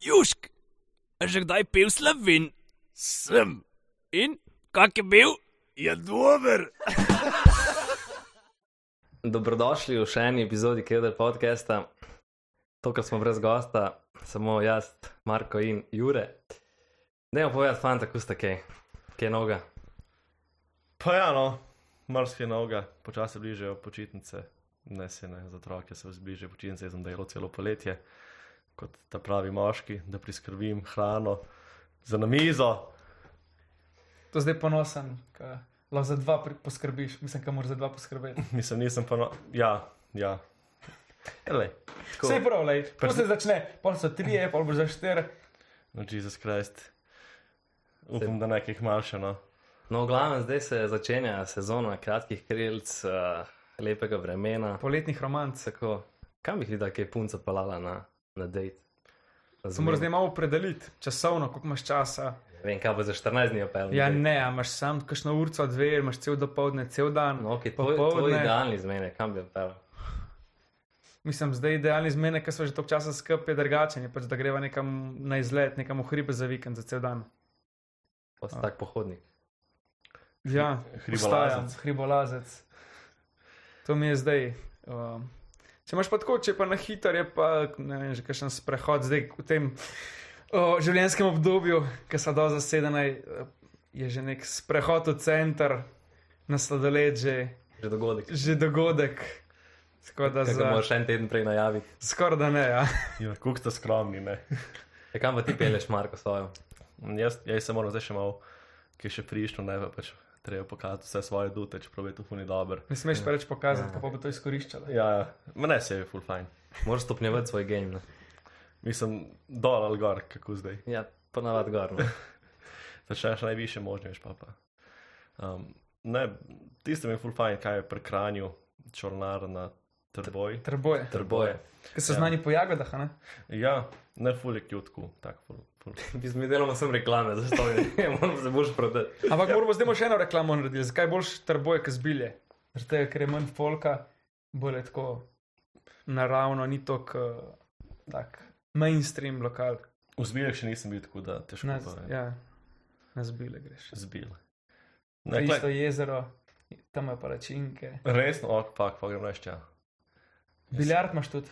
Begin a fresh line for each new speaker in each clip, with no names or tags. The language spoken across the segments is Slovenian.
Južk, a že kdaj pil slovin?
Sem,
In kak je bil?
je dober.
Dobrodošli v še eni epizodi Kedar podcasta. Tokrat smo brez gosta, samo jaz, Marko in Jure. Ne opovedati, fanta, kako ste kaj, kaj noga.
Pa ja, no, marsikaj novega, počasi bližajo počitnice, ne se ne za otroke, se bližajo počitnice, jaz sem delal celo poletje, kot ta pravi moški, da priskrbim hrano za na mizo.
To zdaj ponosen, ker lahko za dva pri- poskrbiš, mislim, da moraš za dva poskrbeti.
Mislim, nisem pa no, ja, ja. Ele,
Vse je prav, le. Ko
Pač-
se začne, pol so tri, pol boš za štiri.
no, Jezus Krist. Upam, da nekaj malše, no.
No, v glavnem zdaj se začenja sezona kratkih krilc, uh, lepega vremena.
Poletnih romanc.
Tako, kam bi videl, kaj je punca pelala na, na dejt?
Se moraš zdaj malo opredeliti, časovno, koliko imaš časa.
Vem, kaj bo za 14 dni opel.
Ja, ne, a imaš sam kakšno urco, dve, imaš cel dopoledne, cel dan.
No, okay, to, to je idealni zmene, kam bi opel.
Mislim, zdaj idealni zmene, ker smo že toliko časa skupaj, je drugačen, je pač, da greva nekam na izlet, nekam v hribe za vikend, za cel dan.
Pa si tak pohodnik.
Ja,
hribolazec.
obstaja, Hribolazec. To mi je zdaj. Um, če imaš pa tako, če pa na hitro, je pa ne vem, že kakšen sprehod zdaj v tem o, življenjskem obdobju, ki so do zasedena, je že nek sprehod v center, na sladoled že,
Že dogodek.
že dogodek. Tako da
Kaj ga
za,
moraš en teden prej najaviti.
skoraj da ne. Ja.
Ja, kuk ste skromni, ne.
Ja, kam pa ti peleš, Marko, svojo?
Jaz, jaz se moram zdaj še malo, ki je še prišlo, ne pa pač treba pokazati vse svoje dute, čeprav je to funi dober.
Ne smeš
Ja.
pa reč pokazati, kako bo to izkoriščalo.
Ja, ja. Ma ne se je full fajn.
Moraš stopnjevati svoj game. Ne?
Mislim, dol ali gor, kako zdaj.
Ja, ponavadi gor. Ne?
Začneš na najvišje možne, veš pa. pa. Um, ne, tisto mi je full fajn, kaj je pri kranju, črnar na trboj.
Trboje,
Trboje.
ki so znani po jagodah, a ne?
Ja, ne full je kjutku, tako full. full.
Bi smo delali sem reklame, zato ne morem se boš prodati.
Ampak moramo zdaj imamo še eno reklamo narediti. Zakaj boš trboje, ki zbilje? Zaradi tega, ker je manj folka, bolj je tako naravno, ni tako eh, tak mainstream lokal.
V zbiljih še nisem bil tako, da težko
Na,
povem.
ja, na zbile greš.
Zbil.
Na
Ne,
isto
kaj,
jezero, tam je palačinke.
resno, ok, pak, pa grem nešče.
Biljard imaš tudi,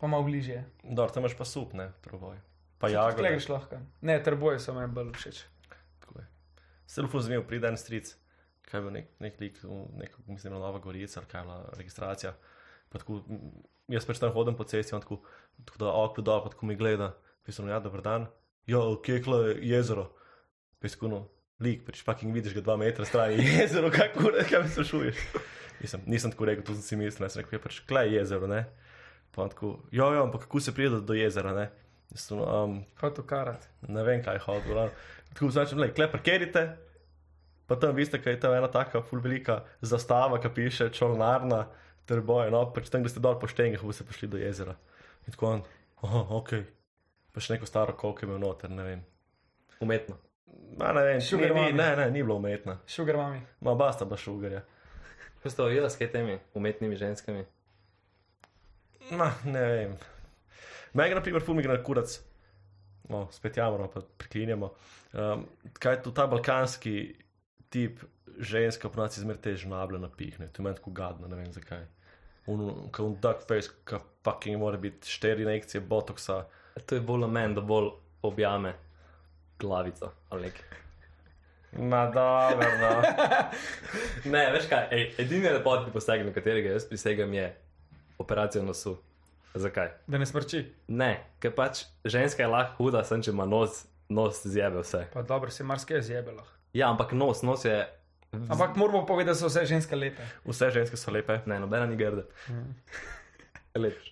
pa malo bližje.
Dor, tam imaš pa sup, ne, trboj. Pa
Kle
jagode.
greš lahko. Ne, trboje so meni bolj všeč.
Tako je. Celo ful zanimiv, pride en stric, kaj je bil nek, nek lik, v neko, mislim, da je bila Nova Gorica ali kaj je bila registracija. Pa Tako, m, jaz pač tam hodim po cesti, on tako, tako da oko dol, pa tako mi gleda, pisem, ja, dober dan, jo, keklo je jezero, piskuno, lik, pač fucking vidiš ga dva metra stran, je jezero, kako ne, kaj mi se šuješ. Mislim, nisem tako rekel, to sem si mislil, jaz sem rekel, je pač klej jezero, ne. Pa on tako, jo, jo, ampak kako se pride do, do jezera, ne. Jaz sem, um,
Kot ukarat.
ne vem, kaj hodil. ravno. Tako značem, le, kle parkerite, pa tam veste, kaj je tam ena taka ful velika zastava, ki piše črnarna, ter boje, no, pač tam, da ste dol po štengah, boste prišli do jezera. In tako on, oh, ok, pač neko staro kolke imel noter, ne vem.
Umetno.
Ma, ne, vem ni,
Sugar
ni,
mami.
ne, ne, ni bila umetna,
Šugar mami.
ma basta bila šugarja.
Posto videl s temi umetnimi ženskami.
Ma, ne vem. Mega, na primer, fumi gre na kurac, no, spet javno, pa priklinjamo. Um, kaj tu ta balkanski tip ženska, po nas izmer te žnable napihne, to je meni tako gadno, ne vem zakaj. Un, ka un duck face, ka fucking mora biti štiri injekcije botoksa.
E, To je bolj omen, da bolj objame glavico. ali nekaj.
Ma, dobro, no.
Ne, veš kaj, ej, edini lepotni poseg, na katerega jaz prisegam, je operacija nosu. Zakaj?
Da ne smrči.
Ne, ker pač ženska je lahko huda, sem če ima nos, nos zjebe vse.
Pa dobro, se marsikaj zjebelo.
Ja, ampak nos, nos je.
Ampak moramo povedati, da so vse ženske lepe.
Vse ženske so lepe.
Ne, nobena ni grda. Lepš.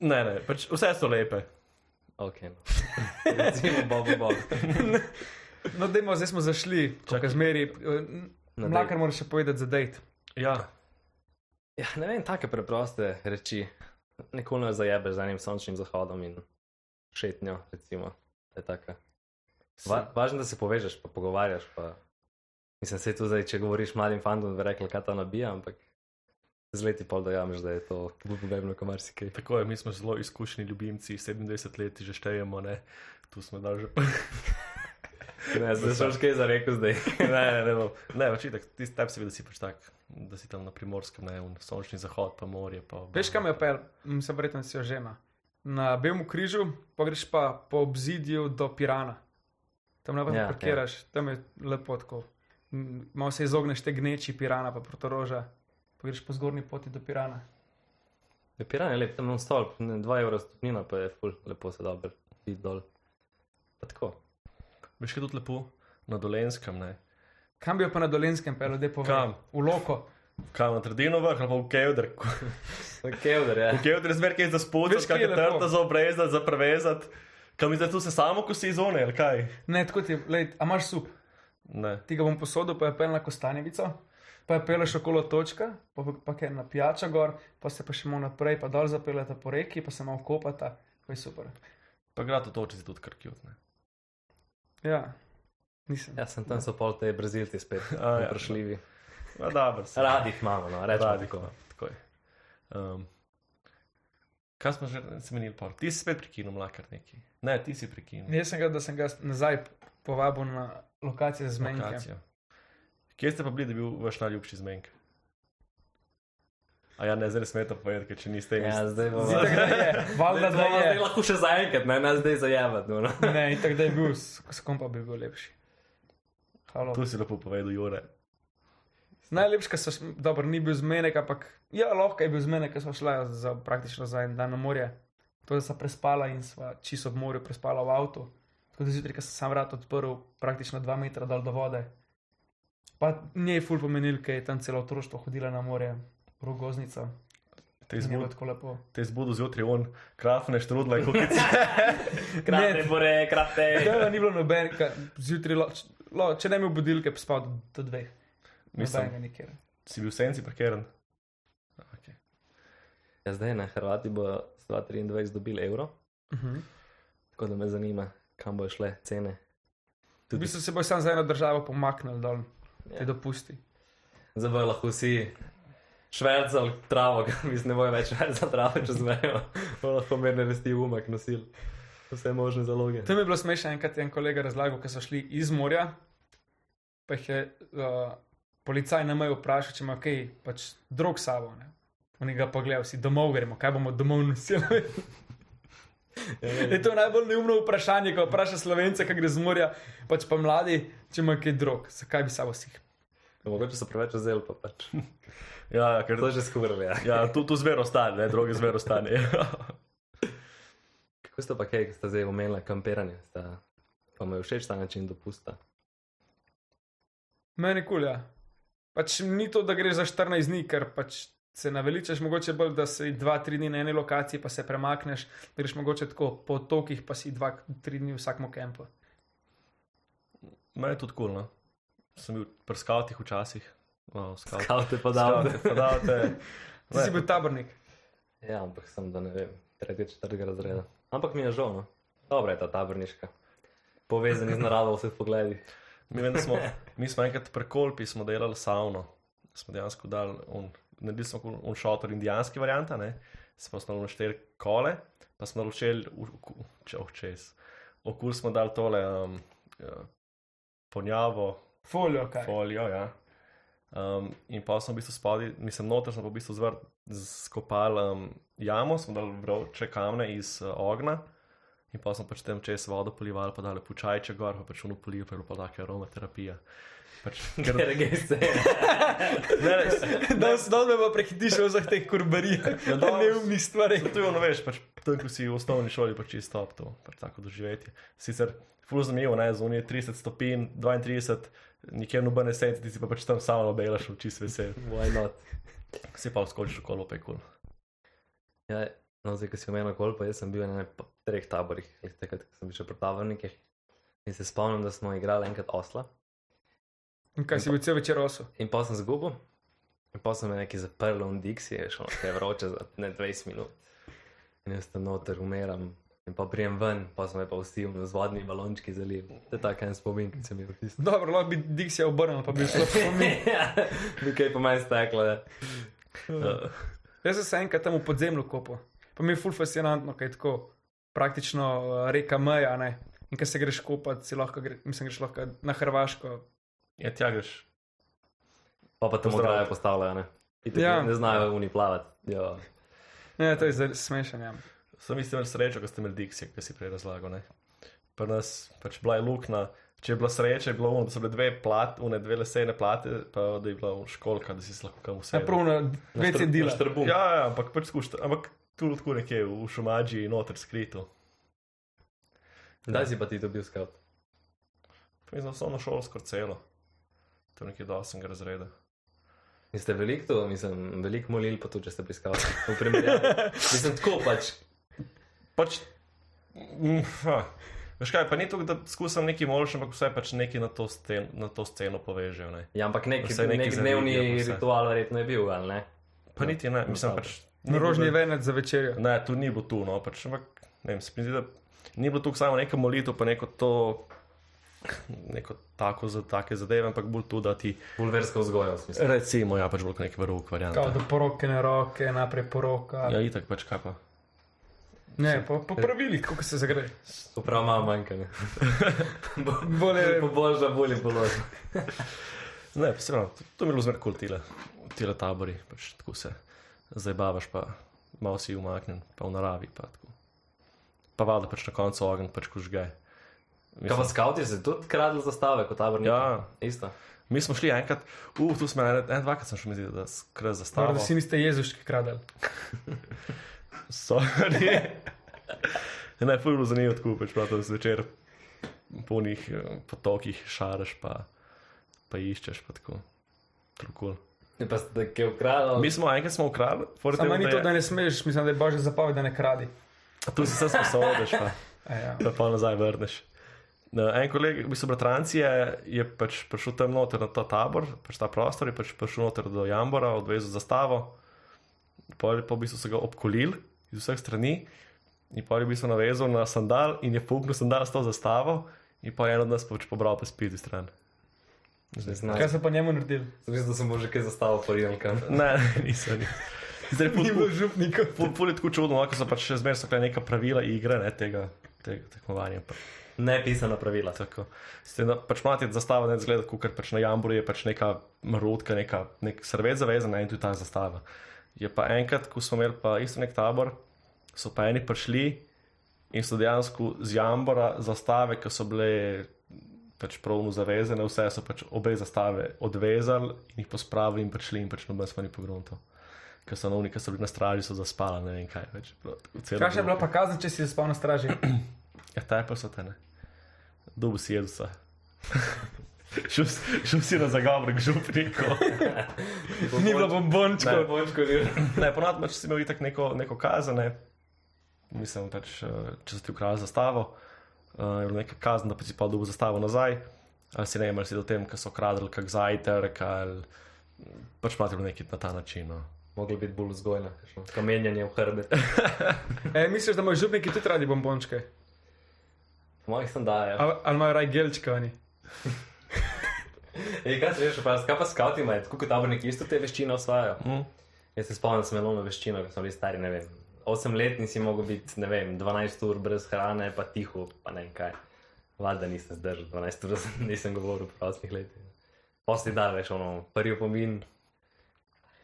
Ne, ne, pač vse so lepe.
Ok, no. Recimo Bobo Bob.
No, dejmo, zdaj smo zašli,
Čakaj.
kot zmeri. eh,
Na
Mlakar moraš še povedati za dejt.
Ja,
Ja, ne vem, take preproste reči. Nikoli ne zajebeš z enim sončnim zahodom in šetnjo, recimo. To je taka. Va, važno, da se povežeš, pa pogovarjaš. Pa... Mislim, se tu zdaj, če govoriš mladim fantom, bi rekel, kaj ta nabija, ampak z leti pol dojameš, da je to bolj pomembno kot marsikaj.
Tako je, mi smo zelo izkušeni ljubimci, 27 let že štejemo, ne. Tu smo dal že.
Ne, zdaj sem že kaj zarekel zdaj.
ne, ne, ne, no. ne, očitek, ti tam seveda si pač tak, da si tam na primorskem, ne, v sončni zahod, pa morje. Pa
Veš, kam je pel, se verjetno si jo žema. Na Belem križu, pa greš pa po obzidju do Pirana. Tam lepo
Ja,
ja, parkiraš, ja. tam je lepo tako. M, Malo se izogneš te gneči Pirana, pa protoroža, pa greš po zgornji poti do Pirana.
Je piran je lep, tam non stolp, 2 evra stopnina, pa je ful, lepo se dobro, ti dol. Pa tako.
Veš, kaj je tudi lepo na dolenskem, ne.
Kam bi jo pa na dolenskem pel, da je
Kam?
povedal? V loko.
Kam na trdino vrh ali pa v Kevdr.
Kevder, ja.
V Kevdr zmer kaj za spodaj,
Veš, kje
kaj
je
je
lepo?
trta za obrezati, za prevezati. Kam mi zdaj tu se samo, ko si izone, ali kaj?
Ne, tako ti je, lej, a imaš sup,
Ne.
ti ga bom posodil, pa je pel na Kostanjevico, pa je peleš okolo točka, pa, pa, pa je na pijača gor, pa se pa še malo naprej, pa dol zapeljata po reki, pa se malo kopata, to je super.
Pa grad otoči si tudi krkjot, ne.
Ja, nisem.
Ja, sem tam so pol te brazilci spet,
A, ja.
prišljivi.
Ja, dobro. se-
Radi jih imamo, no, rečemo
Radi,
tako.
tako je. Um, kaj smo že zmenili? pol? Ti si spet prekinil, mlakar neki. Ne, ti si prekinil.
Jaz sem ga, da sem ga nazaj povabil na lokacijo z menjke.
Lokacijo. Kje ste pa bili, da je bil vaš najljubši zmenek? A ja, ne, zdaj smete povedati, ker če niste
Ja,
iz-
zdaj bomo.
Zdaj
Zdaj,
da je, valjda da
bomo zdaj
je.
lahko še zaenkrat, ne, nas zdaj zajavati. No, no.
Ne, in tako da je bil, s s kom pa bi bil lepši. Halo.
To si lepo povedal, Jure.
Najlepša so, š- dobro, ni bil zmenek, ampak ja, lahko je bil zmenek, ker smo šla za, praktično za en dan na morje. To, da sem prespala in sva čisto ob morju prespala v avtu. Tako da zjutraj, ko sem sam vrat odprl, praktično dva metra dol do vode. Pa nje je ful pomenil, ker je tam celo otroštvo hodila na morje, rogoznica.
Te
In je bilo
izbud-
tako lepo.
te izbudil zjutraj on, krafne štrudle, kot ti
Krate, bore, krate.
Ja, ni bilo noben, ka- zjutraj, lo, č- lo, če ne bi budil, ki bi spal do, do dveh.
Mislim.
Nobenega nikjer.
si bil v senci prekeren. Okay.
Ja, zdaj na Hrvati bo 223 dobil evro,
Uh
Mhm.
-huh.
tako da me zanima, kam bojo šle cene.
V
Tudi-
bistvu se bo sam za eno državo pomaknil dol,
Ja.
te dopusti.
Zdaj bojo lahko vsi švercali travo, ker mislim, ne bojo več švercali travo, če znajo. Bojo lahko merne rasti umak nosil. Vse možne zaloge.
To mi je bilo smešno, enkrat je en kolega razlagal, ker so šli iz morja, pa jih je uh, policaj na meji vprašal, če ima kaj, pač drog s sabo. Ne? Oni ga pogledajo, vsi domov gremo, kaj bomo domov nosili. Je to najbolj neumno vprašanje, ko vpraša slovence, kaj gre z morja, pač pa mladi, če ima kaj drog, zakaj bi sabo si jih
Mogoče so preveč vzel, pa pač.
Ja, ja, ker,
To je že skurve. Ja.
ja, tu, tu zmer ostane, ne, druge zmer ostane.
Kako ste pa kaj, ki ste zdaj omenili kampiranje? Sta, pa mi je všeč ta način dopusta.
Meni kul, ja. Pač ni to, da greš za 14 dni, ker pač se naveličaš, mogoče bolj, da si 2-3 dni na eni lokaciji, pa se premakneš, greš mogoče tako po otokih, pa si 2-3 dni v vsakem kampu.
Mene je tudi kul, cool, no. sem bil pri skavtih včasih. O, skavt.
Kaj te pa dal?
Skavte, podavte.
Ti si bil tabornik.
Ja, ampak sem da ne vem, tretjega, četrtega razreda. Ampak mi je žal, no. Dobra je ta taborniška. Povezani z naravo v vseh pogledih.
Mi, vem, da smo, mi smo enkrat pri Kolpi smo delali savno, smo dejansko dal, on, naredili smo kul- on šotor indijanski varianta, ne? smo osnovno našteli kole, pa smo naročili, če oh, čez, okul smo dal tole um, ponjavo,
Folijo, kaj.
folijo. Ja. Um, in pa smo v bistvu spodaj, mislim, noter smo pa v bistvu zvrt skopali um, jamo, smo dali vroče kamne iz uh, ognja. In pa smo pač tem čez vodo polivali, pa dali pučajče gor, pa pač unu polijo, pa je bila pa taka aromaterapija. Pač, ker,
Ker gej se.
ne, res,
Danes dobro me pa prehitiš v vseh teh kurbarijah,
Ja,
na
danes.
neumnih stvarih.
to je ono veš, pač tam, ko si v osnovni šoli, pač čisto top to, pač tako doživetje. Sicer ful zanimivo, ne, zunaj je 30 stopinj, 32, nikjer noben ne sedi, ti si pa pač tam samo obelaš, čisto vesel.
Why not?
Si pa skočiš v kolo, pa je kul. Cool.
Ja, no, zdaj, ko si omenil kolpo, jaz sem bil na enem pa- treh taborih, glih takrat, ko sem bil še pri tabornikih. In se spomnim, da smo igrali enkrat osla
In kaj si bil cel večer osu?
in pa sem zgubil. In pa sem neki zaprl v Dixie, je šlo nekaj vroče za ne 20 minut. In jaz tam noter umiram. In pa prijem ven, pa sem me pa vsi v zvodni balončki zaliv. To je tako en spomin, ki sem jih vtisnil.
Dobro, lahko bi Dixija obrnil, pa bi šlo po mi.
ja, nekaj po meni steklo. ja.
Uh,
Jaz sem se enkrat tam v podzemlju kopal, pa mi je ful fascinantno, kaj je tako praktično eh, reka meja. Ne? In ker se greš kopat, si lahko, gre, mislim, greš lahko na Hrvaško.
ja, tja greš.
Pa pa tam
Pozdrav.
ograje postavljajo, ne? Itak
Ja.
Ne, ne znajo oni plavati. Ja.
Ne, to je zdaj smešen. Ja.
Sem jaz imel srečo, ko ste imeli Dixie, ki si prej razlagal. ne. Pri nas pač bila je luknja. Če je bila sreča, je bilo ono, da so bile dve plate, une dve lesene plate, pa da je bila školka, da si se lahko kam vse.
Ja, prav na dve cedila.
Štrbum. Ja.
Ja, ja, ampak pač skušate, ampak tu lahko nekje v šumači noter skrito.
Kdaj si pa ti dobil skat?
Mislim, da osnovno šolo skoraj celo. To je nekje do 8. razreda.
In ste veliko to, mislim, veliko molili, pa tudi če ste piskali. V primerjavi. Mislim, tako pač.
Pač, mm, ha. veš kaj, pa ni to, da skušam nekaj moraš, ampak vse pač nekaj na to, scen, na to sceno povežejo. Ne?
Ja, ampak nek,
Vsaj neki
nek
zavidijo,
dnevni
pa vse.
ritual verjetno je bil, ali ne?
Pa niti ne, mislim
dobro.
pač. ni
Rožni
bilo-
venec za večerjo.
Ne, tu ni bilo tu, no, pač, ampak ne vem, se mi zdi, da ni bilo tu samo neka molitev, pa neko to, neko tako za take zadeve, ampak bolj tu, da ti,
Bulversko vzgojo, v smislu.
recimo, ja pač bolj kot nek verug
Kao
variant.
do poroke na roke, naprej poroka.
Ja, itak pač kaj pa.
Ne, po, po pravilih, kako se zagreje.
To prav malo manjkanje.
Bolje-
Poboža, bolje položaj.
Ne, pa se pravi, to, to mi je bilo zmerno kul tile, tile tabori, pač tako se zabavaš, pa malo si umaknjen, pa v naravi. Pa, tako. pa valjda pač na koncu ogenj, pač ko žge.
Kaj pa
Mislim,
skauti se tudi kradli zastave kot taborniki?
Ja.
Isto.
mi smo šli enkrat, uf, tu smo en, en dvakrat sem še mislil, da skr
Dobro,
zastavljamo.
da si niste jezuški kradel.
Sorry. ne, ful je bilo zanimivo tako, pač prav to zvečer po njih potokih šaraš, pa, pa iščeš, pa tako. Trukul.
Ne, Pa ste kaj ukradli?
Mi smo enkrat smo ukradli, fora
Samo
tega,
ni to, da
je-
ne smeš, mislim, da je božja zapoved, da ne kradi.
tu si se sposodeš, pa.
A Ja.
da pa nazaj vrneš. No, En kolega, v bistvu bratranci, je, je pač prišel tam noter na ta tabor, pač ta prostor, je pač prišel noter do Jambora, odvezal zastavo, pol pa v bistvu so ga obkolili iz vseh strani in pa je v bistvu navezal na sandal in je puknil sandal s to zastavo in pa je en od nas pač pobral pa spiti stran.
Ne znam.
Kaj so pa njemu naredili?
Mislim, da sem že kaj zastavil pojedel kam.
Ne, ne, nisem. nisem. Zdaj je
Ni bilo župnikov.
pol, pol je tako čudno, no, ker so pač še zmeraj so bile neka pravila igre ne, tega, tega tekmovanja. Pa.
Nepisana pravila.
Tako. Ste, da, pač imate zastavo, ne zgleda, kot pač na Jamboru je pač neka rodka, neka, nek srvet zavezan ne, in tu je ta zastava. Je pa enkrat, ko smo imeli pa isto nek tabor, so pa eni prišli in so dejansko z Jambora zastave, ki so bile pač pravno zavezane, vse so pač obe zastave odvezali in jih pospravili in prišli in pač noben smo ni pogrunto. Ker so novni, ki so bili na straži, so zaspali, ne vem kaj več. Prav tako celo
Kakšna je bila
grupa.
pa kazen, če si zaspal na straži?
Ja, ta je pa so te ne. Dobu si jedusa. Šel si- šel si na zagovor, k župniku.
Ni bilo bombončkov.
Bočko, dir.
ne, ponad, pa, če si imel itak neko, neko kazen, ne. mislim, pač, eh, če si ti ukradel zastavo, eh, je bila neka kazen, da pa si pa dobil zastavo nazaj, ali si ne vem, ali si do tem, ker so kradli kak zajtrk, ali pač platili nekaj na ta način. No.
Mogli biti bolj vzgojna, kakšno kamenjanje v hrbet.
E, misliš, da imajo župniki tudi radi bombončke?
Po Mojih ja. sem dajo.
Ali, ali imajo raj gelčke oni?
Ej, kaj se veš, pa, kaj pa skauti imajo, tako kot taborniki isto te veščine osvajajo.
Mm.
Jaz se spomnim, da sem imel ono veščino, ko sem bil star, ne vem. 8 let nisi mogel biti, ne vem, 12 ur brez hrane, pa tiho, pa ne vem kaj. Valjda nisem zdržal, 12 ur nisem govoril po 8 letih. Posli da, veš, ono, prvi opomin,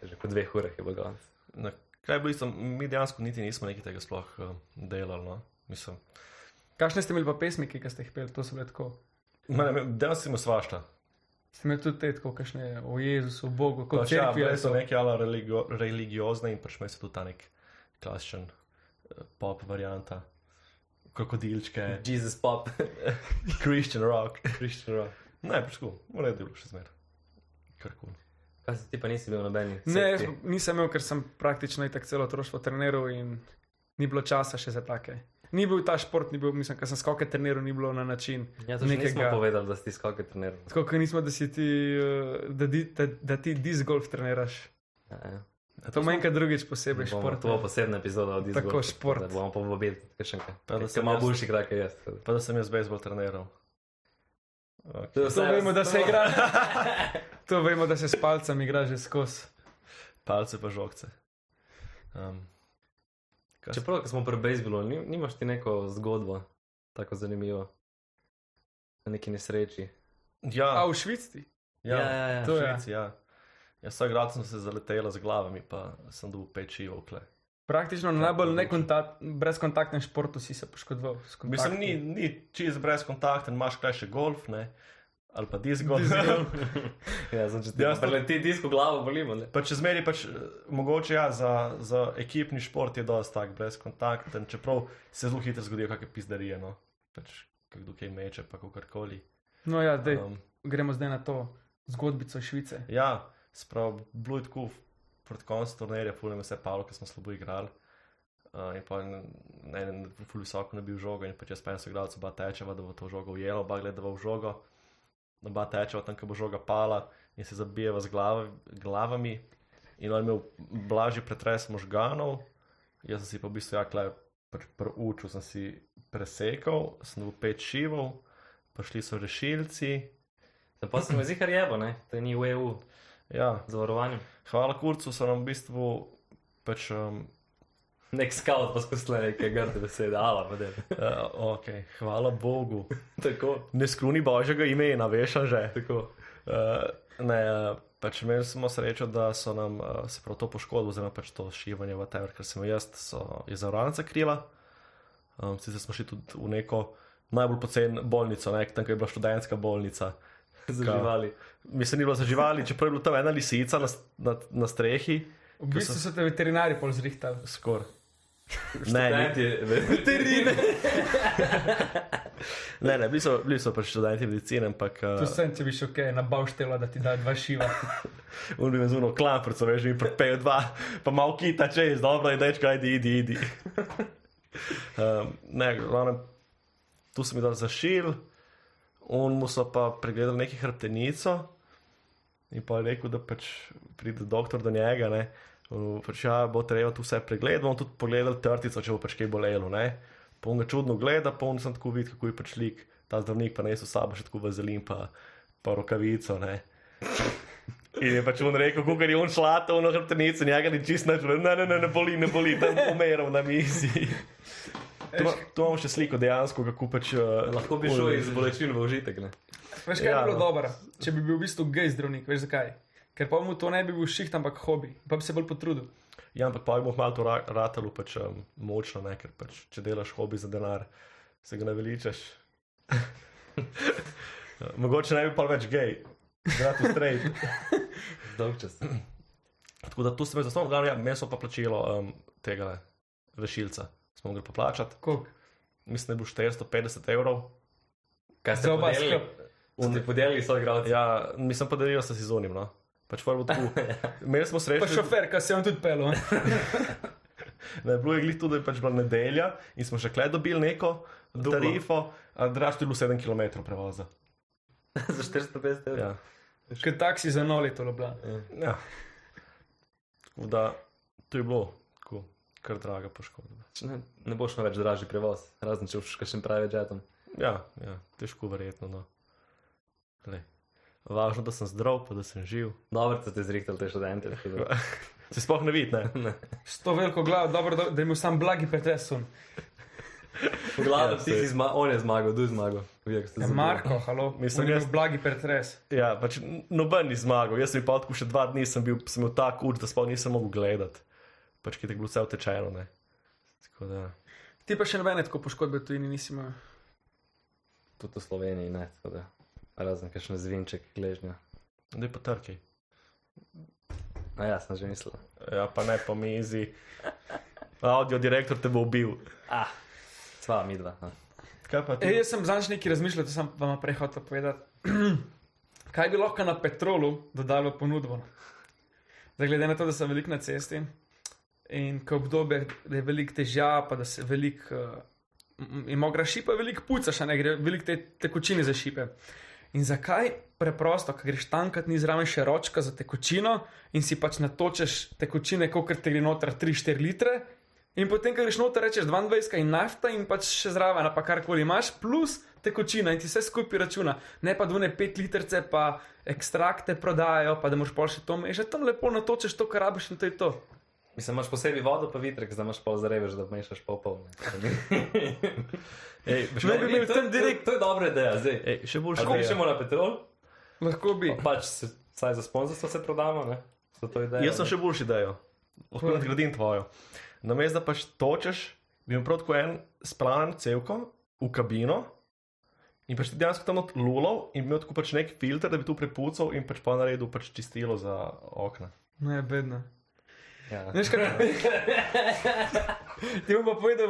že po dveh urah je bilo konc.
Na, kaj je bilo isto, mi dejansko niti nismo nekaj tega sploh eh, delali. No. Mislim,
Kakšne ste imeli pa pesmiki, ki ste jih peli, to so bile tako.
mene- Dejansko smo svašta.
Ste imeli tudi te, tako kakšne o Jezusu, o Bogu, kot
Pač, ja,
cerkvi.
bile
ali
so
to?
neke ala religio, religiozne in pač imajo tudi ta nek klasičen eh, pop varianta. Krokodilčke,
Jesus pop.
Christian rock.
Christian rock.
Ne, pač tako, v redu je bilo še zmeraj. Kar kul.
Kaj si ti pa nisi bil noben?
Ne, jaz nisem imel, ker sem praktično itak celo otroštvo treniral in ni bilo časa še za take. Ni bil ta šport, ni bil, mislim, ker sem skoke treniral, ni bilo na način.
Ja, to še nismo povedali, da si ti skoke treniral.
Tako kot nismo, da, si ti, eh, da, di, da, da ti disc golf treniraš.
Ja, ja.
To ima enkrat drugič
Bomo
posebej šport. ja.
To bo posebna epizoda od izgora.
Tako, šport. Ja,
Da bomo povabili še enkrat.
Pa da
Ker
sem
ima
jaz-
boljši krak, jaz.
Pa da sem jaz bejzbol treniral.
To
To vemo, da se igra. To vemo, da se s palcem igra že skozi.
palce pa žogce. Um, kaj se-
Čeprav ko smo pri bejzbolu, ni- nimaš ti neko zgodbo tako zanimivo o neki nesreči.
ja,
A v Švici?
ja,
ja, ja, ja.
to
To
je.
je.
Švici, ja. Ja, vsak grad sem se zaletela z glavami, pa sem dobil peči v okle.
Praktično na najbolj nekontakt- brezkontaktnem športu si se poškodoval. s
Mislim,
kontakti.
ni, ni čist brezkontakten, imaš kaj še golf, ne? ali pa disk golf.
Ja, znači, ti
Jaz to-
preleti disk v glavo, bolimo. Ne?
Pač zmeri, pač, eh, mogoče ja, za, za ekipni šport je dosti tak brezkontakten, čeprav se zelo hitro zgodijo kakšne pizdarije, no. pač, kdo kaj meče, pa kakorkoli.
No, ja, zdaj
Um,
gremo zdaj na to zgodbico Švice.
ja, sprav, bilo je tako, proti koncu turnirja, fulem vse palo, ker smo slabo igrali. Uh, in pa en, en ful visoko nabil žogo, in pač pa čez penso igralcev, oba tečeva, da bo to žogo ujela, oba gledava v žogo, oba tečeva tam, ko bo žoga pala in se zabijeva z glav, glavami. In on je imel blažji pretres možganov, jaz sem si pa v bistvu ja, jakle proučil, sem si presekal, sem bil pet šivov, prišli so rešilci.
Pa sem jih zihar jebo, ne? To ni v E EU,
Ja,
zavarovanjem.
Hvala kurcu, so nam v bistvu pač, um,
Nek scout pa skusle neke grde besede, ala, pa dej.
uh, okay, hvala Bogu.
Tako,
Ne skruni božjega imena, veš, a že.
tako.
Uh, ne, eh, pač imeli smo srečo, da so nam uh, se prav to poškodbo, oziroma pač to šivanje, whatever, ker sem jo jaz, so je zavarovalnica krila. Um, sicer smo šli tudi v neko najbolj poceni bolnico, ne, tam ko je bila študentska bolnica.
Za
Ka-
živali.
Mislim, ni bilo za živali, čeprav je bila tam ena lisica na, s- na, na strehi,
V bistvu so te veterinari pol zrihtali.
skoraj. Ne, ni-
veterine.
Ne, ne, bili so, bili so pač študenti medicine, ampak eh,
Tu sem, če bi šel kaj na bavštela, da ti da dva šiva.
unijo z uno klamprco, veš, mi prepejo dva, pa malo kita čez, dobro, in reč, kaj, idi, idi, idi. Um, ne, glavnem, tu sem jih dal zašil, on mu so pa pregledal neki hrbtenico in pa je rekel, da pač pride doktor do njega, ne. On mu Pač ja, bo treba tu vse pregledati, bomo tudi pogledali trtico, če bo pač kaj bolelo, ne. Pa on ga čudno gleda, pa on sem tako videl, kako je pač lik, ta zdravnik pa ne so sabo še tako vazelin, pa, pa rokavico, ne. In je pač on rekel, kako je on šlato, ono hrbtenico, njega ni čist nič, ne, ne, ne, ne boli, ne boli, tam pomerov na mizi. To, ima- to imamo še sliko dejansko, kako pač. Uh,
Lahko bi šel iz bolečin v užitek, ne?
Veš, kaj ja,
Ja,
bi bilo
no.
dobro, če bi bil v bistvu gej zdravnik, veš zakaj? Ker pa mu to ne bi bil šiht, ampak hobi, pa bi se bolj potrudil.
Ja, ampak pa bomo malo to ra- ratalo pač, um, močno, ne, ker pač, če delaš hobi za denar, se ga naveličaš. Mogoče ne bi pa več gej, gratis trade.
Zdolčas.
Tako da tu sem jaz zasnoval, glavno, ja, meso pa plačilo um, tega rešilca. Smo mogli poplačati,
Koliko?
mislim, da je bilo 450 evrov.
Kaj ste
Za oba
podelili? Ste podelili so igralci.
Ja, nisem pa delil, sem si zunim. No. Pač prvo tako. Imeli smo
Pa
srečo,
šofer, ki se je on tudi pel. ne?
da je bilo je glih tudi, da je pač bila nedelja in smo še kle dobili neko
Duplo.
tarifo, a draž tu je bilo 7 km prevoza.
Za 450 evrov.
Ja.
Ker taksi za noli to lobla.
Ja. Tako da to je bilo tako, kar draga poškodba.
Če Ne, ne boš imel več dražji prevoz, razen če boš kakšen pravi žeton.
Ja, ja težko verjetno. No. Glej, Važno, da sem zdrav, pa da sem živ.
Dobro, da ste zrihtali te študente. tako da-
Se sploh ne vidi, ne?
S to veliko glavo, dobro, da, da je imel sam blagi pretresun.
V glavi
Ja,
ti si
sej.
zmagal, on je zmagal, du zmagal. Vi, kako ste
Ja,
zabili.
Marko, halo,
Mislim,
mislim, da je
jaz-
imel blagi pretres.
Ja, pač n- noben ni zmagal. Jaz sem bil pa tako še dva dni, sem bil, sem bil tako uč, da sploh nisem mogel gledati. Pač ki je tako bilo vse utečeno. ne. Tako da.
Ti pa še nobene tako poškodbe tu in nisi imel.
Tudi v Sloveniji ne, tako da. Razen kakšen zvinček, gležnja.
Daj pa trki.
A ja, sem že mislil.
Ja, pa ne po mizi. Audio direktor te bo ubil.
Ah, sva midva. no.
Kaj pa
E,
ti?
jaz sem zanj nekaj razmišljal, to sem vam prej hotel povedati. Kaj bi lahko na petrolu dodal v ponudbo? Zdaj, glede na to, da sem velik na cesti in ko obdobje, da je veliko težav, pa da se veliko, uh, ima gra šipa, veliko puca, še ne gre, veliko te tekočine za šipe. In zakaj preprosto, ko greš tankat, ni zraven še ročka za tekočino in si pač natočeš tekočine, kot te gre noter 3-4 litre, In potem, ko greš noter, rečeš 22 in nafta in pač še zraven, ali pa karkoli imaš, plus tekočina in ti vse skupaj računa. Ne pa dune 5 litrce, pa ekstrakte prodajajo, pa da moš pol še to mešati. Tam lepo natočeš to, kar rabiš in to je to.
Mislim, imaš posebej vodo, pa vitrek, da imaš pol zareveš, da mešaš pol polne.
Ej, še,
Ne bi imel tam direkt,
To je dobra ideja, zdaj. ja.
ej, še boljše.
Če pišemo na petrol,
lahko bi.
pa pač se, vsaj za sponzorstvo se prodamo, ne? Za to idejo.
Jaz sem še boljši idejo, lahko
Povej.
nadgradim tvojo. Namesto da pač točeš, bi imel prav tako en splan cevko v kabino in pač ti dejansko tam odlulov in bi imel tako pač nek filter, da bi tu prepucal in pač pa naredil pač čistilo za okna.
Ne, No, bedno.
Ja.
Veš, kaj ti bom pa povedal,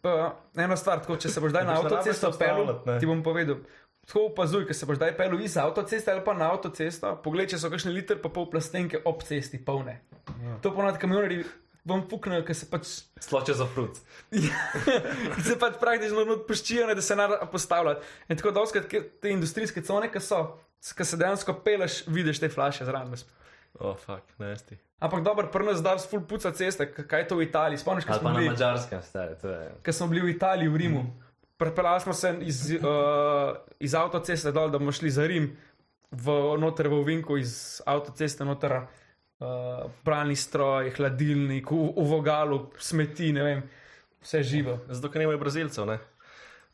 pa, eno stvar, tako, če se boš zdaj
Ne boš
na
rabil se
avtocesto pel,
ustavljati, ne.
ti bom povedal. Tako opazuj, ker se boš zdaj pel iz avtoceste ali pa na avtocesto. Poglej, če so kakšne liter pa pol plastenke ob cesti polne. Ja. To ponad kamionari vam puknejo, ker se pač,
Sloče za frut.
ker se pač praktično odpuščijo, ne, da se nada postavlja. In tako doskrat ke- te industrijske cone, ki so, ki se dejansko peleš, vidiš te flaše zraven.
O, oh, fuk, nesti.
Ampak dobro, prvo zdaj s full puca ceste, k- kaj je to v Italiji, spomniš, kaj
Ali
smo
pa na Mhm.
bili.
mačarskem, stari, to je.
Ker smo bili v Italiji, v Rimu, prepeljali smo se iz, uh, iz avtoceste dol, da bomo šli za Rim, v, noter v Vinku, iz avtoceste noter, uh, pralni stroj, hladilnik, v, v vogalu, smeti, ne vem, vse živo.
Zato, ker nimajo brazilcev, ne?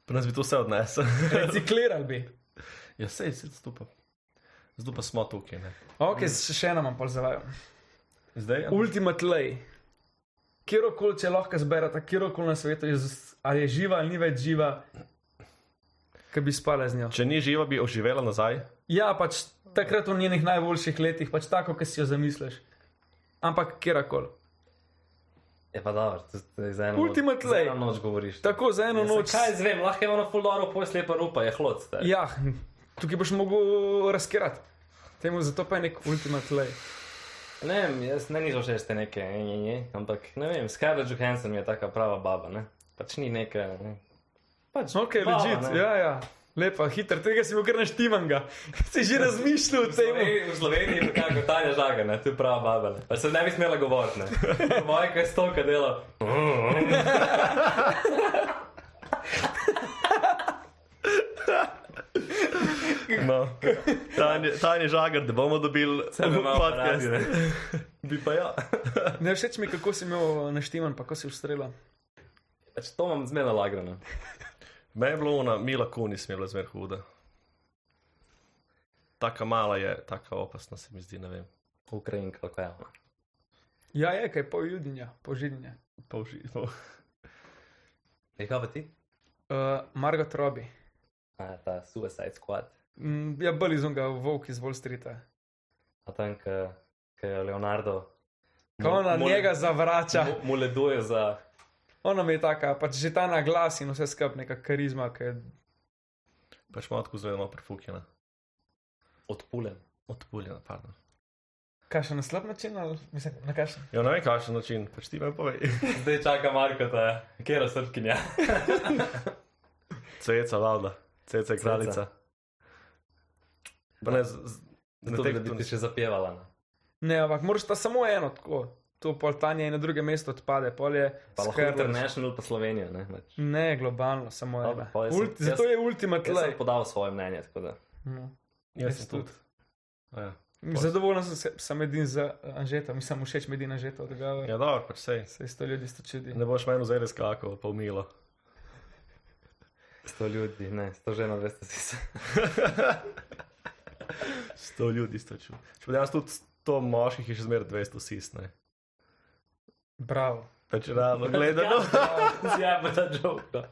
Pri nas bi to vse odnesel.
Reciklirali bi.
ja, sej, sej, zato pa. Zato pa smo tukaj, ne?
Ok,
Mhm.
še še eno imam pol za vaju.
Zdaj, ja.
Ultimate lay. Kjerkoli, če lahko zberete, kjerkoli na svetu, je, z- ali je živa ali ni več živa, ki bi spala z njo.
Če ni živa, bi oživela nazaj.
Ja, pač takrat v njenih najboljših letih, pač tako, ki si jo zamisliš. Ampak kjerkoli.
Je pa dobro, to to je za eno.
Ultimate
noč- za
lay.
eno noč govoriš.
Tako za eno
Ja, saj
noč.
Kaj zvem, lahko je ono full dobro, poj slepa rupa, je hlod, stari.
Ja, tukaj boš mogel razkirati. Temu zato pa je nek ultimate lay.
Ne vem, jaz ne nisem všeč te neke, nje, nje, nje, ampak ne vem, Scarlett Johansson je taka prava baba, ne? Pač ni neka. Ne? Pač
Ok,
baba,
ležit,
ne.
ja, ja. Lepa, hiter, tega si bil kar naštiman ga. Si
Ja,
že razmišljal o tem.
Sloveniji, v Sloveniji je tako Tanja Žaga, ne, to je prava baba. ne. Pa se ne bi smela govoriti, ne. Moja, kaj stoka dela.
No. Tanje, tanje žagar, da bomo dobili
Sebe malo pa
podcast.
radi, ne.
Bi pa ja.
Ne všeč mi, je, kako si imel naštiman, pa ko si ustrela.
Pač to imam zmerno lagrano.
Meni je bilo ona, Mila Kunis mi je bila zmer huda. Taka mala je, taka opasna se mi zdi, ne vem.
Ukrajinka, kaj je.
Ja, je kaj, pol judinja, pol židinja.
Pa uživo.
Je kaj pa ti?
Uh, Margot Robi.
A, ta Suicide Squad.
Mm, ja, bolj izunga, volk iz Wall Streeta.
A tam, ki je Leonardo.
Ko ona
mol-
njega zavrača.
mu- Moleduje za.
Ona mi je taka, pač že ta naglas in vse skupaj neka karizma, ki je
Pač malo tako zelo malo prefukjena.
Odpulen.
Odpuljena, pardon.
kašen na slab način, ali mislim, na kašen.
Ja, ne vem, kakšen način, pač ti me povej.
Zdaj čaka Marko, ta kera srpkinja.
Ceca, valda. Ceca je
Ceca.
kraljica. Pa ne, z, z, ne
To bi
tek,
da bi ti še zapjevala. Ne?
Ne, ampak moraš ta samo eno tako. To pol tanje in na druge mesto odpade, pol je
Pa lahko
Scarlett.
International pa Slovenija. Ne? Pač.
Ne, globalno, samo
Dobro,
ena.
pol jaz sem-
Ulti, zato
jaz-
je ultimate
Jaz sem
lej.
podal svoje mnenje, tako da.
No.
Jaz
Jaz
sem tudi. A Ja,
Zadovoljen sem, se- sem edin za Anžeta, mi samo všeč medin Anžeta odgava. Ja.
ja dobro, pač sej.
Se isto ljudi sto čudi.
Ne boš meni vzel skako, pa umilo.
Sto ljudi, ne, sto žena, veste si se.
Sto ljudi stočil. Če pa danes tudi sto moških je še zmeraj 200 sisne.
Bravo.
Pač realno gledano.
Ja, pa ta žoga.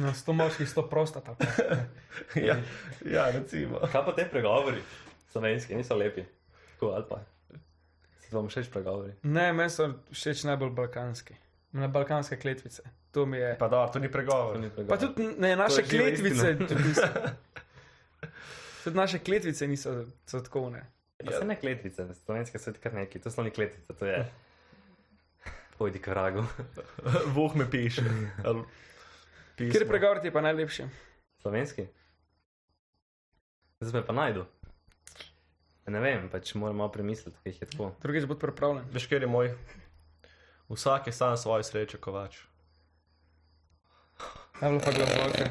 Na sto moških, sto prosta tako.
ja, ja, recimo.
Kaj pa te pregovori? Slovenski niso lepi. Tako ali pa. Se vam všeč pregovori?
Ne, meni so všeč najbolj balkanski. Na balkanske kletvice. To mi je.
Pa dobro, to ni
To
pregovor.
ni pregovor.
Pa tudi ne, naše
živa
kletvice.
istina.
Tudi, niso- tudi naše kletvice niso sladkovne.
Pa se ne kletvice, slovenske so kar neki, to so ni kletvice, to je. Pojdi k vragu.
Voh me piše. ali pismo.
Kjer pregovor ti je pa najlepši?
Slovenski? Zdaj me pa najdu. Ja, Ne vem, pač moram malo premisliti, kaj je tako.
Drugič bo pripravljen.
Veš, kjer je moj? Vsak je sam svojo srečo, kovač.
Ta je bila pa globoka.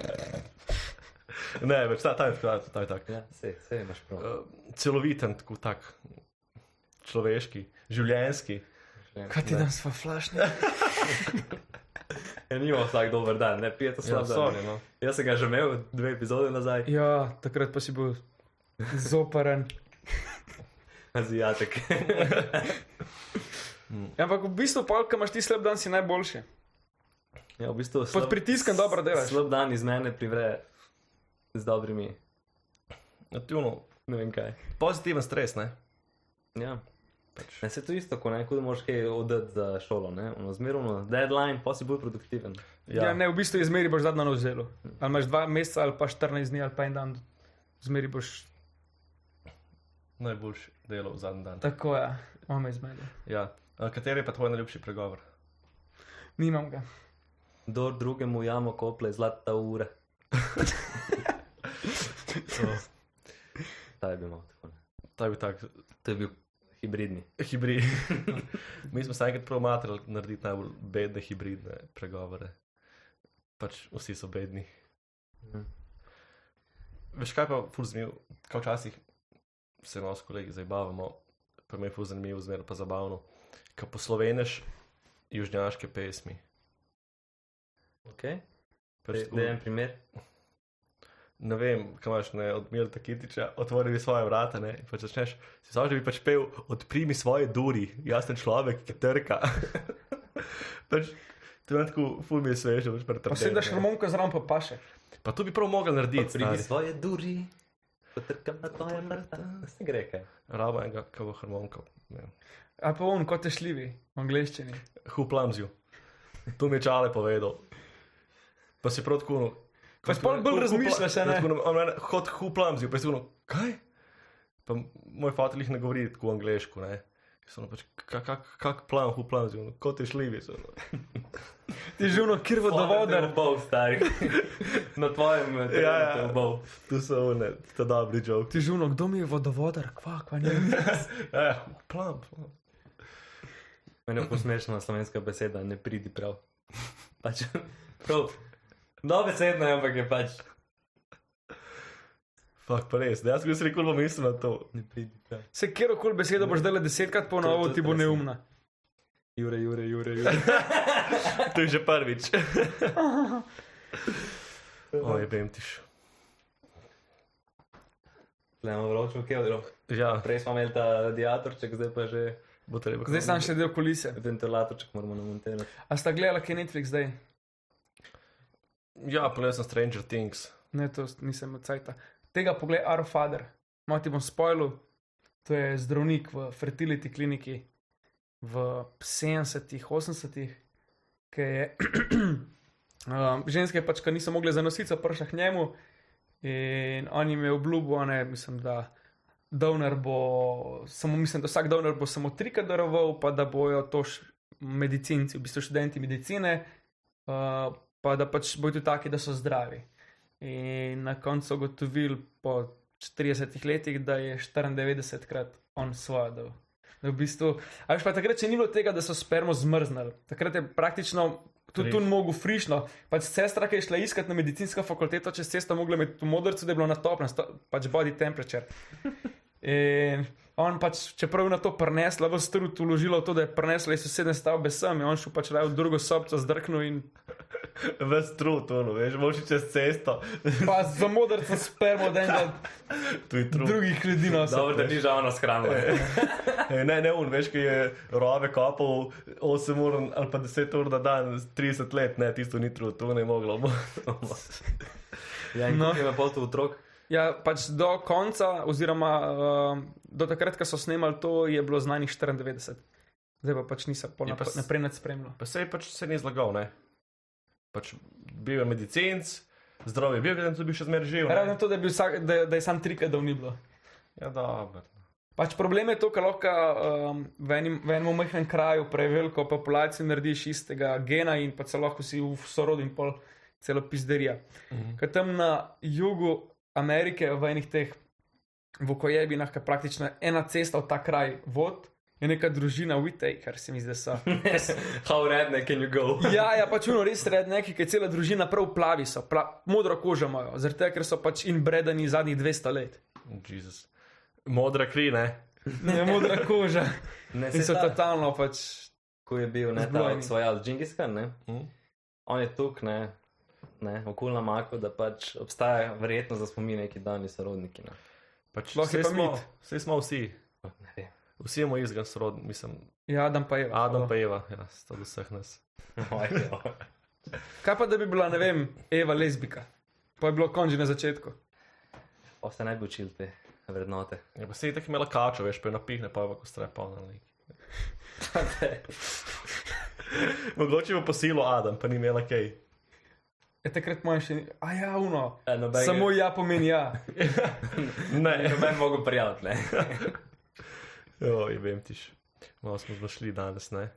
Ne, več ta, ta je tako, ta je tako.
Ja, sej, sej imaš prav.
Uh, celoviten, tako tak, človeški, življenski.
Kaj ti danes pa flašne?
Ja, nima vsak dober dan, ne pijete
Ja,
slabo.
sorry, no.
Jaz sem ga že imel dve epizode nazaj,
Ja, takrat pa si bil zoparen.
azijatek.
Ja, ampak v bistvu, pol, ko imaš ti slab dan, si najboljši.
Ja, v bistvu,
Pod pritiskom dobro delaš.
Slab dan iz mene privre z dobrimi,
no. Nativno,
ne vem kaj.
pozitiven stres, ne?
Ja.
Pač.
Ne, se to isto, ko nekaj moraš kaj odati za šolo, ne? Ono, zmerno, deadline, pa si bolj produktiven.
Ja. ja, ne, v bistvu izmeri boš zadnjo noč zelo. Ali imaš dva meseca, ali pa 14 dni, ali pa en dan, zmeri boš
najboljši delo v zadnji dan.
tako, ja, imamo izmeri.
Ja. A Kateri je pa tvoj najljubši pregovor?
Nimam ga.
Dor drugemu jamo kople zlata ura. Oh. Ta je bil malo tako. Ne?
Ta je bil tak
To je bil hibridni.
hibrid. Mi smo se enkrat promatrali narediti najbolj bedne hibridne pregovore. Pač vsi so bedni.
Mhm.
Veš kaj pa ful zmiv, kaj včasih se malo s kolegi zabavamo, pa mi je ful zanimivo, zmer pa zabavno, ko posloveneš južnjaške pesmi.
Okay.
Pač tako-
Da je en primer.
ne vem, kaj imaš ne, od Mirta Kitiča, otvorili svoje vrata. Ne, in pač začneš, si sam že bi pač pel, odprimi svoje duri, jaz sem človek, ki trka. pač, to je tako, ful mi je sveže, pač
Pa
pretrpel.
se daš harmoniko zraven, pa paše.
Pa to bi prav mogel narediti,
Pridi
stari.
svoje duri, potrkam na tvoje vrata. Se gre kaj.
Rabo enega, ki bo harmonikal.
Ali pa on, kot te šljivi, v angleščini.
Huplamzil. To mi je čale povedal. Pa si prav tako. no,
Pa si pol bolj
Hu- hu-
razmišljaš, a ne?
tako, no, on mene, Hod huplamzil, pa si ono, kaj? Pa m- moj fatelj jih ne govori tako angliško, ne? Jaz ono pač, kak, kak, kak plan huplamzil, ono, No, kot je no. šljivi. so ono.
Ti živno kirvo do vode.
Bol, stari. na tvojem eh, terenu
ja.
te obol.
Tu so one, ta dobri joke.
Ti živno, kdo mi je vodovodar, kva, kva ne.
Ja, ja, huplam. huplam.
Meni je posmešna slovenska beseda, ne pridi prav. Pač, prav. No, besedna je, ampak je pač.
Fak, pa res, dejansko jaz rekel, bom mislil na to.
Ne pridi prav.
Se kjer koli besedo boš dala desetkrat ponovno,
To- to-
ti bo
res ne.
neumna.
Jure, jure, jure, jure.
To je že prvič. Oj, vem tiš.
Tlemo vročo kevdro.
Ja,
Prej smo imeli ta radiatorček, zdaj pa že
bo treba.
Zdaj sem še del kulise.
ventilatorček moramo namontirati.
A sta gledala, kaj je Netflix zdaj?
Ja, pogledal sem Stranger Things.
Ne, to s- nisem od cajta. Tega pogled, Aro Fader, malo ti bom spojil, to je zdravnik v fertility kliniki v 70-ih, 80-ih, ki je um, ženske pač, ki niso mogle zanositi, so prišle k njemu in on jim je obljubil, a ne, mislim, da. Dovner bo, samo mislim, da vsak dovner bo samo trikrat daroval, pa da bojo to š, medicinci, v bistvu študenti medicine, uh, pa da pač bojo tudi taki, da so zdravi. In na koncu so ugotovili po 40 letih, da je 94krat on svojo dal. Da v bistvu, a veš pa takrat, če ni bilo tega, da so spermo zmrznili, takrat je praktično. Tudi tu
Res.
mogo frišno. Pač sestra, ki je šla iskat na medicinsko fakulteto, čez cesto mogla imeti v modrcu, da je bilo na topnem, sto- pač body temperature. In on pač, čeprav je na to prenesla, v strud uložila v to, da je prenesla iz sosednje stavbe sem, je on šel pač raje v drugo sobico zdrknil in
Ves trud, ono, veš, moši čez cesto.
pa za modrcem spermo, da je
Tu je trud.
drugih ljudi no, nosil.
Dobro, da ni žalno shranila.
Ej, E, Ne, ne, un, veš, ki je rove kopal 8 ur ali pa 10 ur na dan, 30 let, ne, tisto ni trud, to ne je moglo.
Ja, in
No.
no. ima pol tu otrok.
Ja, pač do konca, oziroma uh, do takrat, ko so snemali to, je bilo znanih 94. Zdaj pa pač nisem pol
Je pa
nap-
s-
naprej nad spremljal.
pa sej pač se ni zlagal, ne. Pač bil je medicinc, zdrav je bil, vedno bi še zmeraj živel. ne.
Razen to, da, je bil vsak, da, da je sam trikrat, da ni bilo.
Ja, dobro.
Pač problem je to, ker lahko um, v, enim, v enem majhnem kraju preveliko populacijo narediš istega gena in pa celo lahko si v sorodu in pol celo pizderija.
Mhm.
Ker tam na jugu Amerike, v enih teh vokojebinah, ki praktično ena cesta v ta kraj vod, je je neka družina Whitaker, se mi zdi, da so.
How redneck can you go?
Ja, ja, pač uno res redneki, ki cela družina prav plavi so, pla modro kožo imajo, zaradi tega, ker so pač inbredani zadnjih 200 let.
Jezus. Modra kri, ne?
Ne, modra koža.
Ne,
In
se
so
Ja, ta,
totalno pač.
ko je bil ne, ta
Zblojeni.
odsvojal Džingiskan, ne?
Mhm.
On je tuk, ne, ne, okulna mako, da pač obstaja verjetnost, da smo mi neki dani sorodniki, ne.
Pač,
Lahko
saj
je pa
smo,
mit.
saj smo vsi.
Ne vem.
Vsi imamo izgan sorodni, mislim,
Ja, Adam pa je.
Adam pa Eva, ja, sta od vseh nas.
Moj bog.
Kaj pa, da bi bila, ne vem, Eva lezbika? Pa je bilo konži na začetku.
Pa se naj bi učili te vrednote.
Ja, pa se je tako imela kačo, veš, pa jo napihne, pa je pa stre polna lik. Mogoče bo posilo Adam, pa ni imela kaj.
Je E, takrat moj še ni. A ja, uno.
Eh,
Ja, noben
Samo
je-
ja pomeni ja.
Ne,
Noben mogo prijaviti, ne.
oj, vem tiš. Malo smo zašli danes, ne?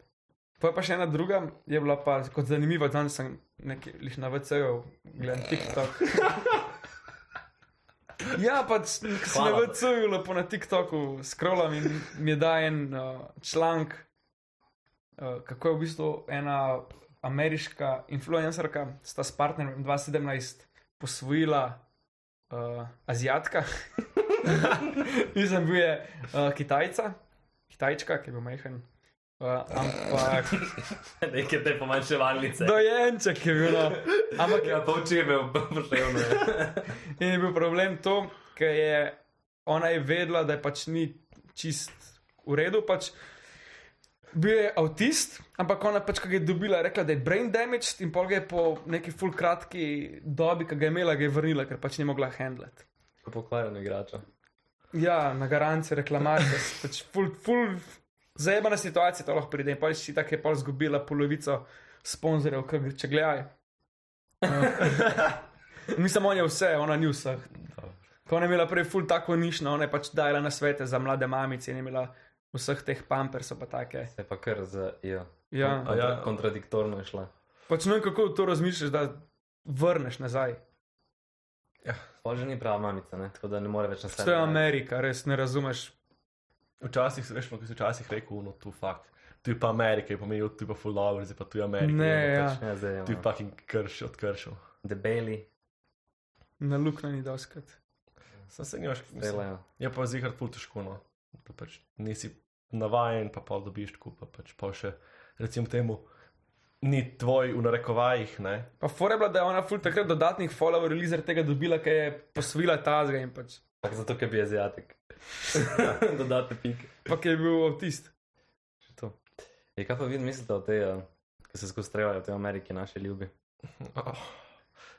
Pa je pa še ena druga, je bila pa kot zanimiva, danes sem nekaj lih na VC-ju, gledam TikTok. Ja, pač ko sem na
Hvala.
VC-ju lepo na TikToku skrolam in mi je da en uh, članek, uh, kako je v bistvu ena ameriška influencerka, sta s partnerjem 2017 posvojila uh, Azijatka, nisem bil je uh, Kitajca, Kitajčka, ki je bil majhen. Uh, ampak
Neke te pomanjševalnice.
Dojenček je bil. no. Ampak
Ja, pa oči je imel, pa poštevno.
in je bil problem to, ker je ona je vedela, da je pač ni čist v redu. Pač bil je avtist, ampak ona pač, ki ga je dobila, je rekla, da je brain damaged in pol ga je po neki full kratki dobi, ki ga je imela, ga je vrnila, ker pač ni mogla handlet.
Ko pokvarjeno igračo.
Ja, na garanci reklamacije, pač full, full zajemana situacija, to lahko pride. In pa si tako je pol izgubila polovico sponzorjev, ki gre- če gledaj. Uh, mislim, on je vse, ona ni vseh. Ko ona je imela prej full tako nišno, ona je pač dajala na svete za mlade mamice in je imela vseh teh pampersov pa take.
Se je pa kar z, ja.
Ja.
A ja.
Kontradiktorno je šla.
Pač no, in kako to razmišljaš, da vrneš nazaj.
Pol že ni prava mamica, ne? tako da ne more več na
To je
sebe.
Amerika, res ne razumeš.
Včasih, si, veš, ko si včasih rekel, no, tu fakt. Tu je pa Amerika, je pomenil, tu je pa full dobro, zdaj pa tu je Amerika.
Ne,
je,
ja,
Ja, zdaj je.
Tu je fucking krš, odkršil.
Debeli,
na luknjo ni doskrat.
Sam se njoš, mislim.
delajo.
Je Ja, pa zihar full težko, no. Pa pač nisi navajen, pa pol dobiš tako, pa pač pa še, recimo temu, ni tvoj v narekovajih, ne.
Pa fora je bila, da je ona ful takrat dodatnih followerjev lizer tega dobila, ker je posvila tazga in pač.
Ampak zato, ker bi azijatek. Dodate pike.
Pa ki je bil avtist.
To. Je kaj pa vi mislite o tej, eh, ki se skozi streljajo, te Ameriki naše ljubi?
Oh,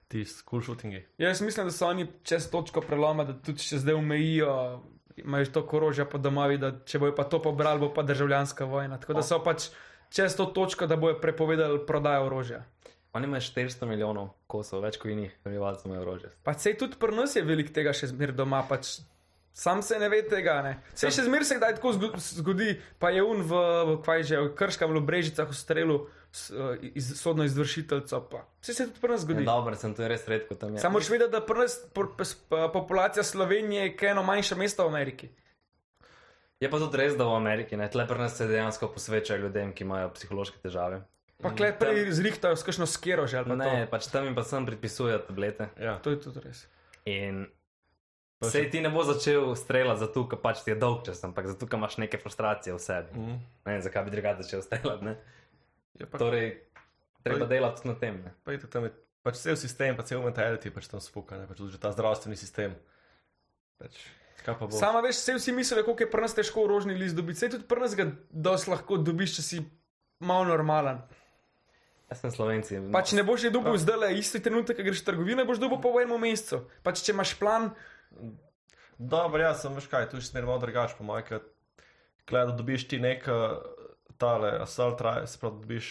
ti school shootingi.
Ja, Jaz mislim, da so oni čez točko preloma, da tudi če zdaj omejijo, imajo to korožja po domovi, da če bojo pa to pobrali, bo pa državljanska vojna. Tako da so pač čez to točko, da bojo prepovedali prodajo orožja.
Oni imajo 400 milijonov kosov, več kot inih prebivalcev imajo orožje.
Pa sej tudi pri nas je veliko tega še zmer doma, pač sam se ne ve tega. Ne? Sej še zmer se kdaj tako zgo- zgodi, pa je un v, v kvaj že, v Krška, v Brežicah, v strelu, s, eh, iz, sodno izvršiteljca, pa sej se tudi pri
Ja,
nas zgodi.
dobro, ja. sem to je res redko tam. Je.
Samo še vedeti, da pri nas por- pes- pa populacija Slovenije je eno manjše mesto v Ameriki.
je pa tudi res, da v Ameriki, ne, tle pri nas se dejansko posvečajo ljudem, ki imajo psihološke težave.
Pa klej prej zrihtajo s kakšno skero že. ali pa
Mm, Ne, pač tam jim pa sem predpisujejo tablete.
Ja.
To. to je tudi res.
In Sej ti ne bo začel streljati zato, ker pač ti je dolgčas, ampak zato, ker imaš neke frustracije v sebi.
Mm.
Ne vem, zakaj bi drugače začel streljati. ne.
Je pa, torej,
Torej, treba delati tudi na tem. Ne?
pa je tam je, pač cel sistem, pa cel mentality pač tam spuka, ne, pač tudi že ta zdravstveni sistem. Pač, kaj pa bo?
Sama veš, sej vsi mislijo, kako je pri nas težko orožni list dobiti. Sej tudi pri nas ga dosti lahko dobiš, če si malo normalen.
Jaz sem slovenci.
Pač ne boš je dobil zdaj le isti trenutek, ko greš v trgovino, boš dobil po enem mesecu. Pač če imaš plan,
Dobro, jaz sem veš kaj, tu je smer malo drugače, po mojem, ker gleda, da dobiš ti nek eh, tale assault rifle, se pravi, dobiš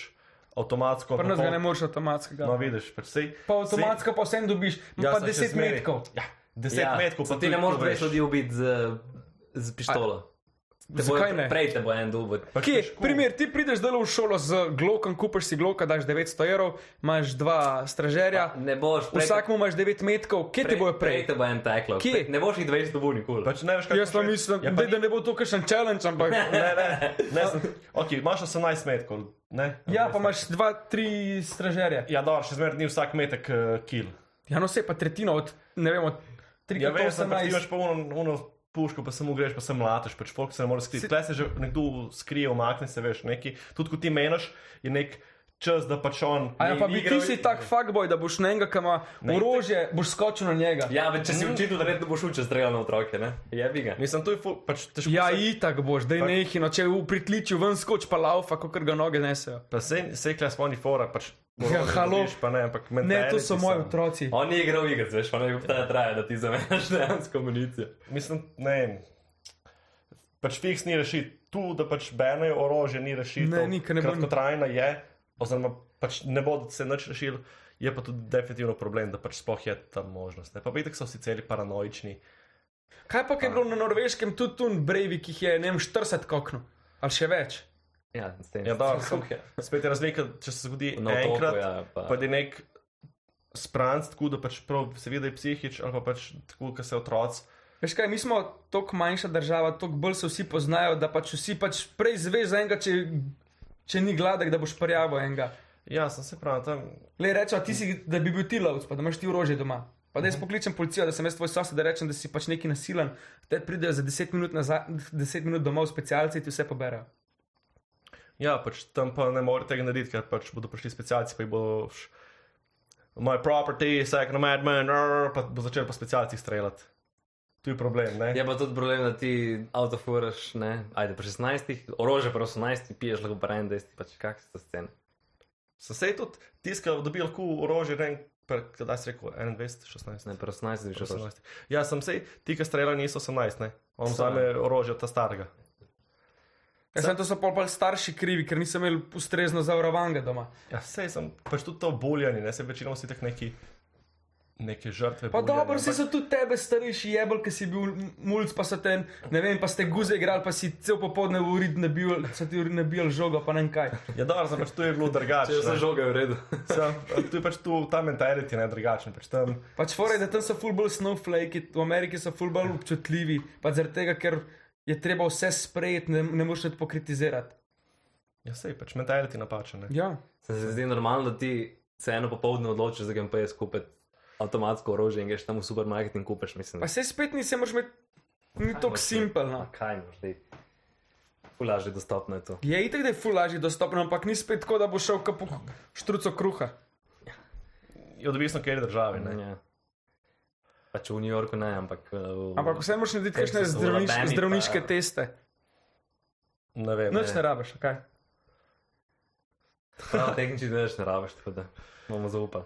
avtomatsko.
pri nas ga ne
popoln-
moreš avtomatskega.
No, vidiš, pač sej.
Pa avtomatsko pa vsem dobiš, ja, pa 10 metkov.
Ja, 10 metkov,
pa ti ne moreš več ljudi ubiti z, z pištolo. Te bo-
Zakaj ne?
Prej te bo en dubo.
Kje, primer, ti prideš delo v šolo z glokom, kupiš si gloka, daš 900 evrov, imaš dva stražerja,
Ne boš, prej,
vsakmu imaš 9 metkov, kje ti bojo
Prej te
prej?
bo en teklo.
Kje?
Prej- Ne boš jih 200 dobil nikoli.
Pač ne veš, kaj
Jaz pa mislim,
ja,
daj, da ne bo to kakšen challenge, ampak.
Ne, ne, ne, sem- ok, imaš 18 metkov, ne?
Ja, pa imaš dva, tri stražerje.
Ja, dobro, še zmeraj ni vsak metek uh, kil.
Ja, no se pa tretjino od, ne vem, od 3
Ja,
do
veš, da ti imaš pa
18.
uno, uno puško, pa samo greš, pa sem lataš, pač folk se ne more skriti.
Si-
Tukaj se že nekdo skrije, omakne se, veš, neki. Tudi ko ti meniš, je nek čas, da pač on.
A ja,
ni
pa bi
igral-
ti si tak fuckboy, da boš na enega, ki ima orožje, boš skočil na njega.
Ja, več če si učitelj, da redno boš učil streljati na otroke, ne? Je bi ga.
Mislim, to je ful- pač težko.
Ja,
se-
itak boš, da je nehino, če v pritličju ven skoč pa laufa, kakor ga noge nesejo.
Pa se sej klas spomni fora, pač.
Ja, halo.
dobiš, Pa ne, ampak meni.
Ne, to so moji otroci.
On ni igral igric, veš, pa ne bi ta traja, da ti zamenjaš dejansko municijo.
Mislim, ne vem. Pač fiks ni rešit. Tu, da pač benejo orožje, ni rešitev.
Ne, ni, ker ne bo-
Kratkotrajna je, oziroma pač ne bo se nič rešil. Je pa tudi definitivno problem, da pač sploh je ta možnost. Ne? Pa vidite, so vsi celi paranoični.
Kaj pa, ker je bilo na norveškem tudi tu brevi, ki jih je, ne vem, 40 kokno, ali še več.
Ja, s tem.
Ja, dobro,
Suh je.
Spet je razlika, če se zgodi
Na
no,
otoku,
enkrat, ja,
ja, pa-
pa je nek spranc, tako da pač prav, seveda je psihič ali pa pač tako, da se otroci
Veš kaj, mi smo tako manjša država, tako bolj se vsi poznajo, da pač vsi pač prej zveš za enega, če, če ni gladek, da boš prijavil enega.
Ja, sem se pravi, tam
Le rečejo, ti si, da bi bil ti lovec, pa da imaš ti orožje doma. Pa da jaz pokličem policijo, da sem jaz tvoj sosed, da rečem, da si pač neki nasilen, te pridejo za 10 minut, nazaj, 10 minut domov specialci in ti vse poberajo.
Ja, pač tam pa ne more tega narediti, ker pač bodo prišli specialci, pa jih boš. My property, second amendment, rrr, pa bo začel po specialcih streljati. Tu je problem, ne?
Je pa tudi problem, da ti avto furaš, ne, ajde pri 16, orožje pri 18, piješ lahko pri 21, pač kak se to scene.
So se tudi tiska, dobi lahko orožje, ne, vem, kdaj si rekel, 21, 16,
Ne, pri 18 bi še šlo.
18. Ja, sem se, ti, ki streljajo, niso 18, ne. On vzame orožje od ta starega.
Ker sem to so pol pol starši krivi, ker nisem imel ustrezno zavarovanga doma.
Ja, sej sem, pač tudi to boljanje, ne, se večinoma si tak neki, neke žrtve.
Pa
buljanja,
dobro, vsi so tudi tebe starejši jebel, ki si bil m- mulc, pa so te, ne vem, pa ste guze igrali, pa si cel popoldne v urid nabil, so ti nabil žogo, pa ne vem kaj.
Ja, dobro, sem pač tu je bilo drugače.
Če se
ne.
žoga je v redu.
Sam, Tu je pač tu, ta mentaliteta je ne drugačna, pač tam.
Pač fore, da tam so ful bolj snowflake, v Ameriki so ful bolj občutljivi, pa zaradi tega, ker je treba vse sprejeti, ne, ne moreš tudi pokritizirati.
Ja, sej pač mentaliteti napačen. ne.
Ja.
Se mi zdi normalno, da ti se eno popovdne odločiš, da grem pa jaz kupiti avtomatsko orožje in greš tam v supermarket in kupiš, mislim.
Pa se spet nisi, moraš imeti, ni no.
Kaj
tako
moraš
simpelno.
imeti? Kaj moš ti? Fulaže dostopno je to.
Je itek, da je ful lažje dostopno, ampak ni spet tako, da bo šel kot po štruco kruha.
Je odvisno, kje je državi. Ne?
Ja. Pač v New Yorku ne, ampak. eh, v-
Ampak vse moraš narediti, kakšne
Texasu,
zdravniš,
Alabami pa-
zdravniške teste.
ne vem.
Noč ne rabiš, kaj?
Prav tehnični delež ne rabiš, tako da bomo zaupali.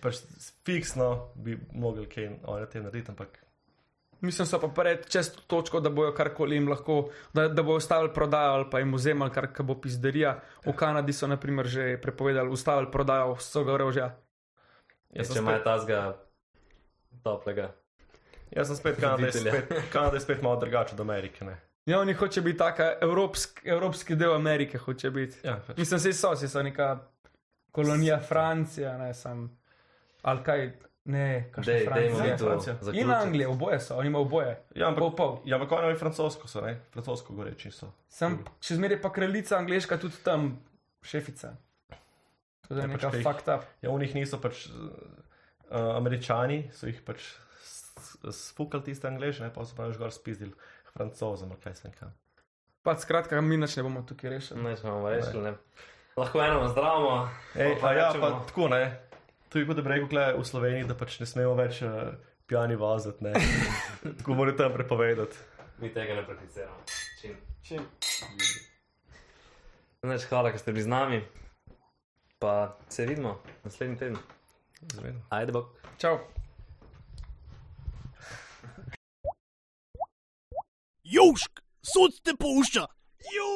Pač fiksno bi mogli kaj na tem narediti, ampak
Mislim, so pa pred čez to točko, da bojo karkoli jim lahko, da, da bojo ustavili prodajo ali pa jim vzemali, kar kar bo pizderija. V Kanadi so naprimer že prepovedali, ustavili prodajo vsega orožja.
Ja,
jaz
če
sem
imaš
spet,
tazga toplega.
jaz sem spet Kanada, je
Voditelja.
spet, Kanada je spet malo drugače od Amerike. Ne?
Ja, oni hoče biti taka, evropsk, evropski del Amerike hoče biti.
Ja, pač.
Mislim, sej so, sej so neka kolonija Francija, ne sam. Ali kaj, ne, kaj
Dej,
še
dejmo mi
Francija.
to
Francija. In
In
zaključiti.
Anglija, oboje so, oni imajo oboje.
Ja, ampak,
Pol, pol.
ja, ampak oni imajo francosko, so, ne? francosko goreči so.
Mm.
Sem še zmeraj pa kraljica angliška, tudi tam šefica. To je
Ja,
neka
pač kaj-
fucked up.
Ja, v njih niso pač uh, američani, so jih pač s- s- spukali tiste angliže, ne pa so pa že gor spizdili francozom, ali kaj sem kam.
Pač skratka, mi nič ne bomo tukaj rešili.
Ne, če bomo rešili, ne. Lahko eno zdravimo.
Ej,
pa
pa ja,
rečemo- no.
pa tako ne. To je kot da bi rekel, kle, v Sloveniji, da pač ne smemo več uh, pijani vaziti, ne. tako morate tam prepovedati.
Mi tega ne prakticiramo. Čim. Čim. Znači, hvala, ker ste bili z nami. Pa se vidimo naslednji teden.
Zvedno.
Ajde, bog.
Čau.
Južk, sod te pušča. Južk.